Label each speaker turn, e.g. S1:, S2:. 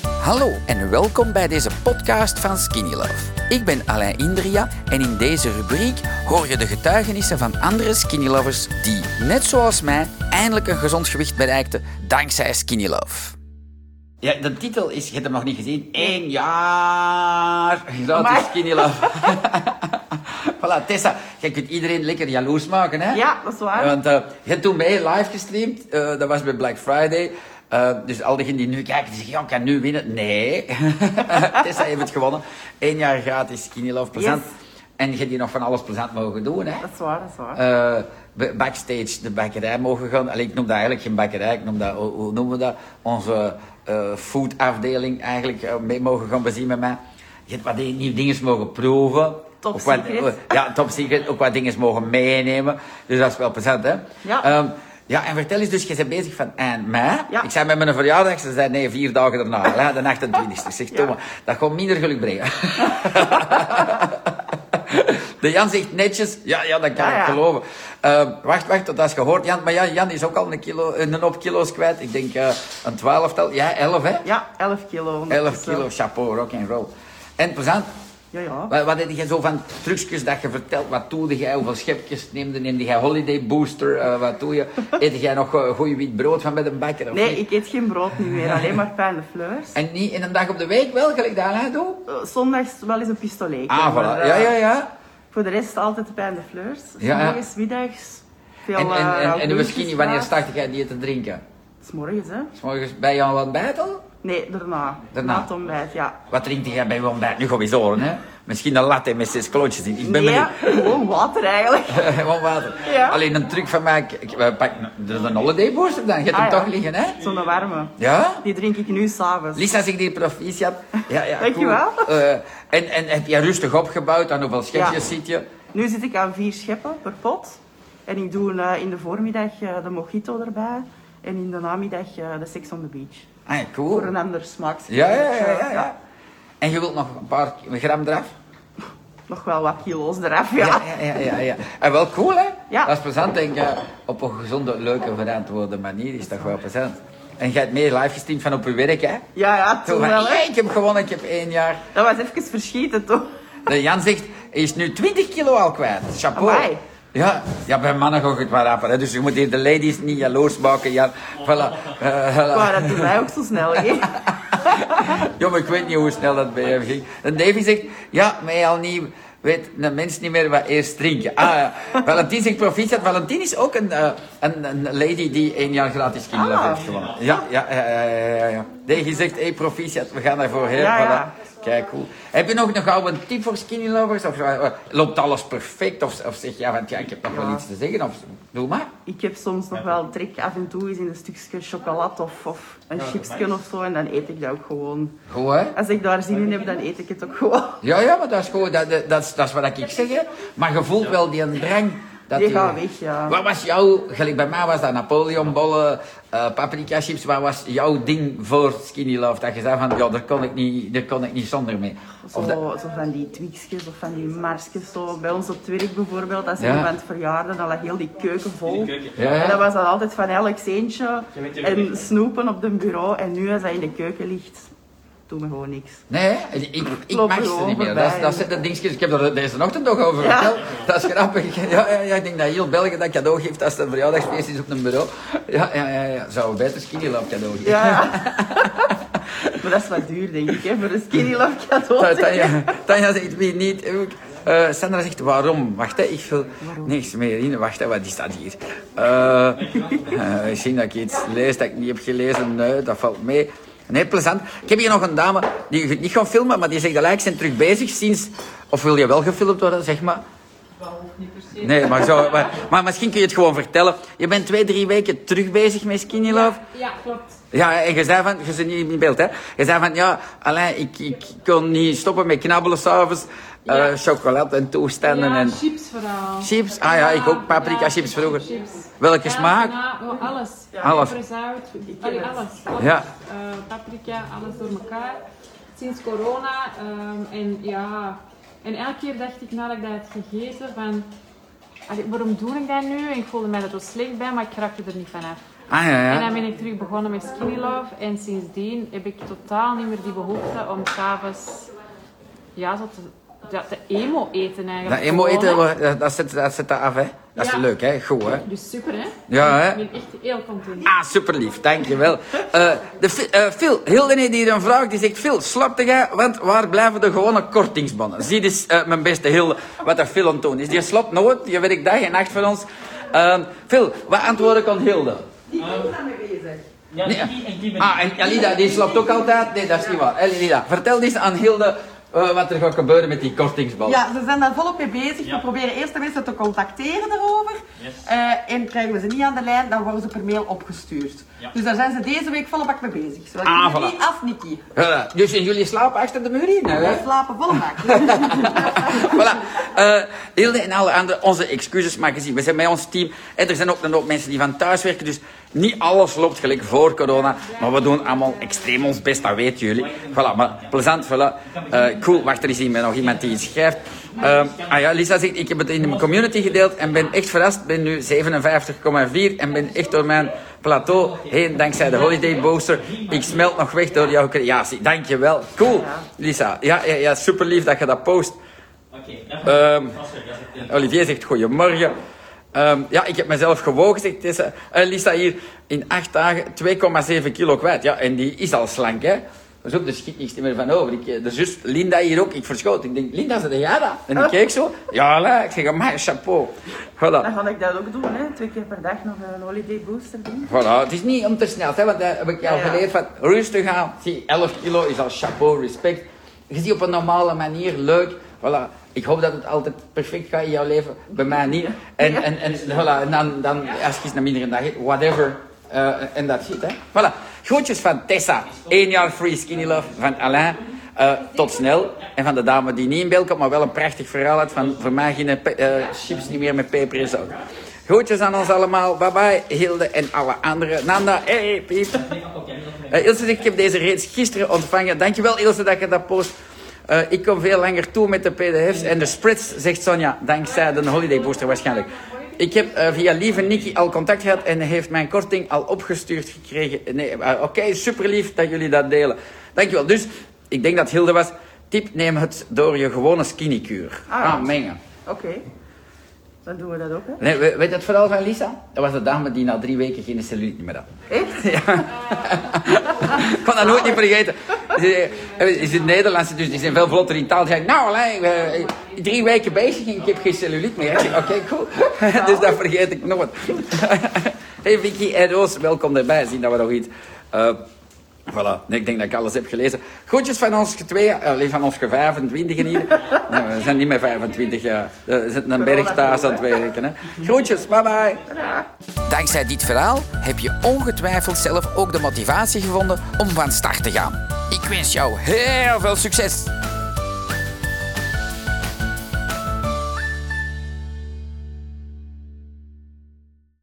S1: Hallo en welkom bij deze podcast van Skinny Love. Ik ben Alain Indria en in deze rubriek hoor je de getuigenissen van andere Skinny Lovers die, net zoals mij, eindelijk een gezond gewicht bereikten dankzij Skinny Love. Ja, de titel is, je hebt hem nog niet gezien, één jaar gratis
S2: Amai.
S1: Skinny Love. voilà, Tessa, jij kunt iedereen lekker jaloers maken, hè?
S2: Ja, dat is waar.
S1: Want eh, je hebt toen mee live gestreamd, eh, dat was bij Black Friday. Eh, dus al diegenen die nu kijken, die zeggen, ja, ik kan nu winnen. Nee. Tessa heeft het gewonnen. Eén jaar gratis Skinny Love plezant. En je hebt hier nog van alles plezant mogen doen, hè?
S2: Dat is waar, dat is waar.
S1: eh, b- backstage de bakkerij mogen gaan. Allee, ik noem dat eigenlijk geen bakkerij, ik noem dat, hoe, hoe noemen we dat? Onze eh foodafdeling eigenlijk eh, mee mogen gaan bezien met mij. Je hebt wat di- nieuwe dingen mogen proeven.
S2: Top
S1: Ook wat, eh,
S2: secret.
S1: Ja, top secret. Ook wat dingen mogen meenemen. Dus dat is wel plezant, hè?
S2: Ja.
S1: Ehm, ja, en vertel eens, dus je bent bezig van eind mei.
S2: Ja.
S1: Ik zei met mijn verjaardag, ze zei nee, vier dagen daarna, hè, de 28 e Ik zeg,
S2: Ja.
S1: Thomas, dat gaat minder geluk brengen. De Jan zegt netjes, ja, ja dat kan
S2: Ja,
S1: ik
S2: ja.
S1: geloven. Eh, wacht, wacht, tot als je hoort, Jan. Maar ja, Jan is ook al een, kilo, eh, een hoop kilo's kwijt. Ik denk eh, een twaalftal, ja, elf hè?
S2: Ja, 11 kilo. ondertussen.
S1: Elf kilo, chapeau, rock and roll. En plezant,
S2: Ja, ja.
S1: wat, wat heb je zo van trucjes dat je vertelt? Wat doe jij? Hoeveel schepjes neemde? Neemde jij holiday booster? Eh, wat doe je? Eet jij nog eh, goeie wit brood van bij de bakker? Of
S2: Nee,
S1: niet?
S2: ik eet geen brood niet meer, alleen maar pain de fleurs.
S1: En niet in een dag op de week wel, gelijk daar hè, doe?
S2: Eh, Zondags wel eens een pistolet.
S1: Ah,
S2: eh,
S1: voilà. Ja, ja, ja.
S2: Voor de rest altijd pain de fleurs.
S1: Ja, ja.
S2: Morgens, middags. Veel eh,
S1: En, en, en, en de
S2: misschien
S1: bikini, wanneer startte jij die te drinken?
S2: morgens, hè?
S1: S morgens bij jou aan het ontbijt al?
S2: Nee, daarna.
S1: Daarna.
S2: Na het ontbijt, ja.
S1: Wat drinkt jij bij je ontbijt? Nu gaan we eens horen, hè? Misschien een latte met zes klontjes in. Ik ben
S2: nee,
S1: benieuwd.
S2: gewoon water eigenlijk.
S1: Gewoon water.
S2: Ja.
S1: Alleen een truc van mij. Ik, ik- eh, pak dat is een holiday booster dan. Je hebt
S2: Ah,
S1: hem
S2: ja.
S1: toch liggen, hè?
S2: Zo'n warme.
S1: Ja?
S2: Die drink ik nu s'avonds.
S1: Lisa zegt hier proficiat. Ja, ja,
S2: Dankjewel.
S1: cool. Eh, en, en heb jij rustig opgebouwd? Aan hoeveel schepjes
S2: Ja.
S1: zit je?
S2: Nu zit ik aan vier scheppen per pot. En ik doe eh, in de voormiddag eh, de mojito erbij. En in de namiddag eh, de sex on the beach.
S1: Ah, cool.
S2: Voor een ander smaakje.
S1: Ja, ja, ja, ja, ja. En je wilt nog een paar gram eraf?
S2: Nog wel wat kilo's eraf, ja.
S1: Ja, ja, ja. ja, ja. En wel cool, hè?
S2: Ja.
S1: Dat is plezant, denk ik. Op een gezonde, leuke, verantwoorde manier is dat wel plezant. En jij hebt meer live gestreamd van op je werk, hè?
S2: Ja, ja,
S1: Zo
S2: toen
S1: van,
S2: wel, hè.
S1: "Hey, ik heb gewonnen, ik heb één jaar.
S2: Dat was even verschieten, toch?
S1: De Jan zegt, hij is nu 20 kilo al kwijt. Chapeau.
S2: Amai.
S1: Ja, ja, bij mannen gaat het wel rapper, hè. dus je moet hier de ladies niet jaloers maken, Jan. Voilà. Eh, voilà.
S2: Maar dat doen wij ook zo snel, hè.
S1: Ja, maar ik weet niet hoe snel dat bij hem ging. En Davy zegt, ja, mij al niet, weet een mens niet meer wat eerst drinken. Ah, ja. Valentin zegt proficiat. Valentin is ook een, eh, een, een lady die één jaar gratis kinderen
S2: Ah.
S1: heeft gewonnen. Ja, ja, ja, ja, ja, ja, ja. Davy zegt, hey, proficiat, we gaan daarvoor heel.
S2: Ja,
S1: voilà.
S2: ja.
S1: Kijk, cool. Heb je nog een gouden tip voor skinny lovers? Of eh, loopt alles perfect? Of, of zeg je, ja, want ja, ik heb nog wel
S2: Ja.
S1: iets te zeggen. Of, doe maar.
S2: Ik heb soms nog wel trek af en toe eens in een stukje chocolade of, of een chipsje of zo. En dan eet ik dat ook gewoon.
S1: Goed, hè?
S2: Als ik daar zin in heb, dan eet ik het ook gewoon.
S1: Ja, ja, maar dat is gewoon, dat, dat, dat is, dat is wat ik zeg, hè. Maar je voelt wel die drang. Dat
S2: Die gaat weg, ja.
S1: Wat was jouw, gelijk bij mij was dat Napoleonbollen, eh paprika chips, wat was jouw ding voor Skinny Love? Dat je zei van, ja, daar kon ik niet, daar kon ik niet zonder mee.
S2: Zo,
S1: Of dat,
S2: zo van die twixjes of van die marsjes. Zo. Bij ons op het werk bijvoorbeeld, als
S1: Ja.
S2: iemand iemand verjaarde, dan lag heel die keuken vol.
S1: Ja, ja.
S2: En dat was dan altijd van elk centje en snoepen op het bureau. En nu als dat in de keuken ligt, doet me gewoon niks.
S1: nee, ik, ik
S2: Loop
S1: mag
S2: er
S1: ze niet meer.
S2: over
S1: Dat,
S2: bij.
S1: dat zijn de dingetjes, ik heb er deze ochtend nog over
S2: Ja.
S1: verteld. Dat is grappig. Ja, ja, ja, ik denk dat heel België dat cadeau geeft als het een verjaardagsfeest is op een bureau. Ja, ja, ja, ja. Zou beter Skinny Love cadeau geven.
S2: Ja, ja. maar dat is wat duur, denk ik, hè, voor een skinny love
S1: Ta-
S2: cadeau.
S1: Eh, Tanja, Tanja zegt wie niet. ook. Eh, Sandra zegt waarom? Wacht, hè, ik vul niks meer in. Wacht, hè, wat is dat hier? Eh, eh, misschien dat ik iets lees dat ik niet heb gelezen. Nee, dat valt mee. Nee, plezant. Ik heb hier nog een dame die je niet gaat filmen, maar die zegt gelijk, zijn terug bezig sinds... Of wil je wel gefilmd worden, zeg maar? Nee, maar, zo, maar, maar misschien kun je het gewoon vertellen. Je bent twee, drie weken terug bezig met Skinny Love.
S3: Ja, klopt.
S1: Ja, en je zei van, je zit niet in beeld, hè? Je zei van, ja, Alain, ik, ik kon niet stoppen met knabbelen s'avonds. eh
S3: Ja.
S1: chocolade en toestanden
S3: ja,
S1: en
S3: chips vooral.
S1: chips. Ah ja, ik ook paprika
S3: ja,
S1: chips vroeger.
S3: chips.
S1: Welke
S3: Ja,
S1: smaak?
S3: na- oh, alles.
S1: Alles.
S3: Peper, zout, allee, alles. alles.
S1: Ja.
S3: Eh, paprika, alles door elkaar. Sinds corona. ehm, en ja, en elke keer dacht ik nadat ik dat had gegeten van... allee, waarom doe ik dat nu? En ik voelde mij er zo slecht bij, maar ik raakte er niet van af.
S1: Ah ja,
S3: En dan
S1: ja.
S3: ben ik terug begonnen met Skinny Love. En sindsdien heb ik totaal niet meer die behoefte om s'avonds ja, zo te, ja, te emo eten
S1: Dat
S3: eigenlijk.
S1: emo eten,
S3: Gewoon, hè.
S1: we- dat- dat zit, dat zit daar af, hè? Dat is
S3: Ja.
S1: leuk, hè? Goed, hè?
S3: Dus super hè?
S1: Ja, hè?
S3: Ik ben echt heel content.
S1: Ah, super lief, dankjewel. Eh de, Fi- eh, Phil, heel de die hier een vraag, die zegt, Phil, slapte jij, want waar blijven de gewone kortingsbonnen? Zie dus eh, mijn beste heel wat er Phil aan het doen is. Die slapt nooit, je werkt dag en nacht voor ons. Ehm, Phil, wat antwoord ik aan Hilde?
S4: Ja,
S1: Nee,
S4: Kiki en Kim en
S1: Ah, en Alida, die slaapt ook altijd? Nee, dat is niet waar. Alida, vertel eens aan Hilde eh, wat er gaat gebeuren met die kortingsbonnen.
S2: Ja, ze zijn daar volop mee bezig.
S4: Ja.
S2: We proberen eerst de mensen te contacteren daarover.
S4: Yes.
S2: Eh, en krijgen we ze niet aan de lijn, dan worden ze per mail opgestuurd.
S4: Ja.
S2: Dus daar zijn ze deze week volop mee bezig. Zowel
S1: Ah,
S2: Kimberly
S1: voilà.
S2: als Nikki.
S1: Voilà. dus en jullie slapen achter de muur in, hè?
S2: Wij slapen volop.
S1: voilà. Eh, Hilde en alle anderen, onze excuses, maar gezien, we zijn bij ons team. En er zijn ook een hoop mensen die van thuis werken, dus niet alles loopt gelijk voor corona. Maar we doen allemaal extreem ons best, dat weten jullie. Voilà, maar plezant, voilà. Eh, cool, wacht, er is hier met nog iemand die iets schrijft. Ehm, ah ja, Lisa zegt, ik heb het in de community gedeeld en ben echt verrast. Ben nu 57,4 en ben echt door mijn plateau heen dankzij de Holiday Booster. Ik smelt nog weg door jouw creatie. Dankjewel. Cool, Lisa. Ja, ja, ja super lief dat je dat post.
S4: Oké, dat
S1: Ehm,
S4: is Frasser, dat is het enige.
S1: Olivier zegt goedemorgen. Ehm, ja, ik heb mezelf gewogen, zegt deze, eh, Lisa hier, in acht dagen 2,7 kilo kwijt. Ja, en die is al slank, hè. Dus ook, er schiet niks meer van over. Ik, eh, de zus Linda hier ook, ik verschoot. Ik denk, Linda, ze de jara. En ik keek zo, ja, la. ik zeg, amai, chapeau.
S2: Dan
S1: Voilà.
S2: ga ik dat ook doen, hè. twee keer per dag nog een holiday booster doen.
S1: Voilà, het is niet om te snel, hè, want dat heb ik jou
S2: Ja, ja.
S1: geleerd van rustig aan. Zie, 11 kilo is al chapeau, respect. Je ziet op een normale manier, leuk. Voilà. Ik hoop dat het altijd perfect gaat in jouw leven, bij mij niet. En, en, en, voilà. en dan, dan als je iets naar mindere dag eet, whatever. Eh, en dat zit, hè. Voilà. Groetjes van Tessa, 1 jaar free skinny love, van Alain. Eh, tot snel. En van de dame die niet in beeld komt, maar wel een prachtig verhaal had van voor mij geen pe- eh, chips niet meer met peper en zout. Groetjes aan ons allemaal. Bye bye, Hilde en alle anderen. Nanda, hey, Piet.
S4: Nee, oké, dat is het enige.
S1: Eh, Ilse zegt, ik heb deze reeds gisteren ontvangen. Dankjewel Ilse dat je dat post. Eh, ik kom veel langer toe met de pdf's en de spreads, zegt Sonja, dankzij de holiday booster waarschijnlijk. Ik heb eh, via lieve Nikki al contact gehad en heeft mijn korting al opgestuurd gekregen. Nee, eh, oké, super lief dat jullie dat delen. Dankjewel. Dus, ik denk dat Hilde was. Tip, neem het door je gewone skinnykuur.
S2: Ah.
S1: Ah, mengen.
S2: Oké. Dan doen we dat ook, hè.
S1: Nee, we- weet je het verhaal van Lisa? Dat was de dame die na drie weken geen cellulite meer had.
S2: Echt?
S1: Ik kan dat nooit niet vergeten. Ze- eh, Is het Nederlandse, dus die zijn veel vlotter in taal. Ze Zei, nou, alleen, eh, drie weken bezig en ik heb geen celluliet meer. Ik zeg, Oké, cool. dus dat vergeet ik nooit. hey Vicky en Roos, welkom erbij. Zien dat we nog iets. eh, voilà, Nee, ik denk dat ik alles heb gelezen. Groetjes van ons twee, eh, alleen van ons 25 hier. Nee, we zijn niet meer 25 jaar. Er zit een berg thuis aan het werken. Hè. Groetjes, bye bye. Dankzij dit verhaal heb je ongetwijfeld zelf ook de motivatie gevonden om van start te gaan. Ik wens jou heel veel succes!